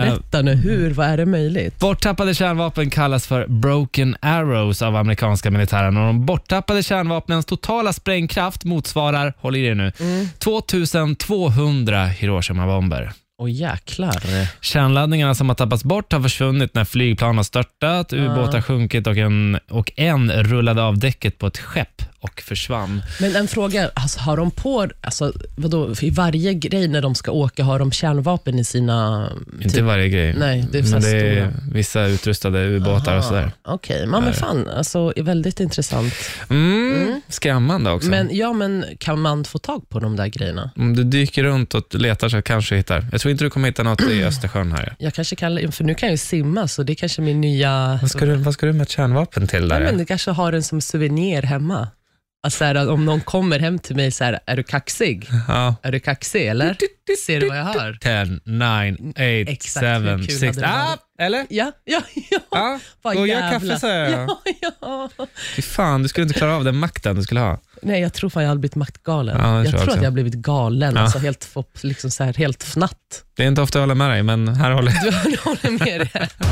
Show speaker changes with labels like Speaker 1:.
Speaker 1: Berätta nu, hur, vad är det möjligt?
Speaker 2: Eh, Borttappade kärnvapen kallas för broken arrows av amerikanska militären och de borttappade kärnvapnens totala sprängkraft motsvarar, håll i er nu,
Speaker 1: Mm.
Speaker 2: 2200 Hiroshima-bomber.
Speaker 1: Åh jäklar.
Speaker 2: Kärnladdningarna som har tappats bort har försvunnit när flygplan har störtat, ubåtar sjunkit och en, och en rullade av däcket på ett skepp och försvann.
Speaker 1: Men en fråga, alltså, har de på, alltså, vadå, i varje grej när de ska åka, har de kärnvapen i sina... typ?
Speaker 2: Inte varje grej,
Speaker 1: Nej, det är så
Speaker 2: men
Speaker 1: här
Speaker 2: det är
Speaker 1: stora.
Speaker 2: vissa utrustade ubåtar och sådär. Eh.
Speaker 1: Okej, men men fan, alltså, är väldigt intressant.
Speaker 2: Mm, Skrämmande också.
Speaker 1: Men, ja, men kan man få tag på de där grejerna?
Speaker 2: Om du dyker runt och letar så kanske du hittar. Jag tror inte du kommer hitta något i Östersjön här.
Speaker 1: Jag kanske kan, för nu kan jag ju simma, så det är kanske min nya...
Speaker 2: Vad ska du, vad ska du med ett kärnvapen till där?
Speaker 1: Nej, men du kanske har den som souvenir hemma. Alltså, så här, om någon kommer hem till mig så här, är du kaxig?
Speaker 2: ja.
Speaker 1: Är du kaxig eller? Ser du vad jag har?
Speaker 2: 10, 9, 8,
Speaker 1: Exakt, hur
Speaker 2: 7,
Speaker 1: kul
Speaker 2: 6.
Speaker 1: hade det
Speaker 2: Ah,
Speaker 1: varit?
Speaker 2: eller?
Speaker 1: Ja, ja, ja.
Speaker 2: Ja.
Speaker 1: Vad
Speaker 2: Och jag
Speaker 1: jävla-
Speaker 2: kaffe sa jag.
Speaker 1: Ja, ja.
Speaker 2: Fy fan, du skulle inte klara av den makten du skulle ha.
Speaker 1: Nej, jag tror fan jag hade blivit maktgalen.
Speaker 2: Ja, det tror
Speaker 1: jag
Speaker 2: jag
Speaker 1: tror
Speaker 2: också.
Speaker 1: att jag har blivit galen,
Speaker 2: Ja.
Speaker 1: alltså helt, fop- liksom så här, helt fnatt.
Speaker 2: Det är inte ofta jag håller med dig, men här håller jag.
Speaker 1: Du håller med det.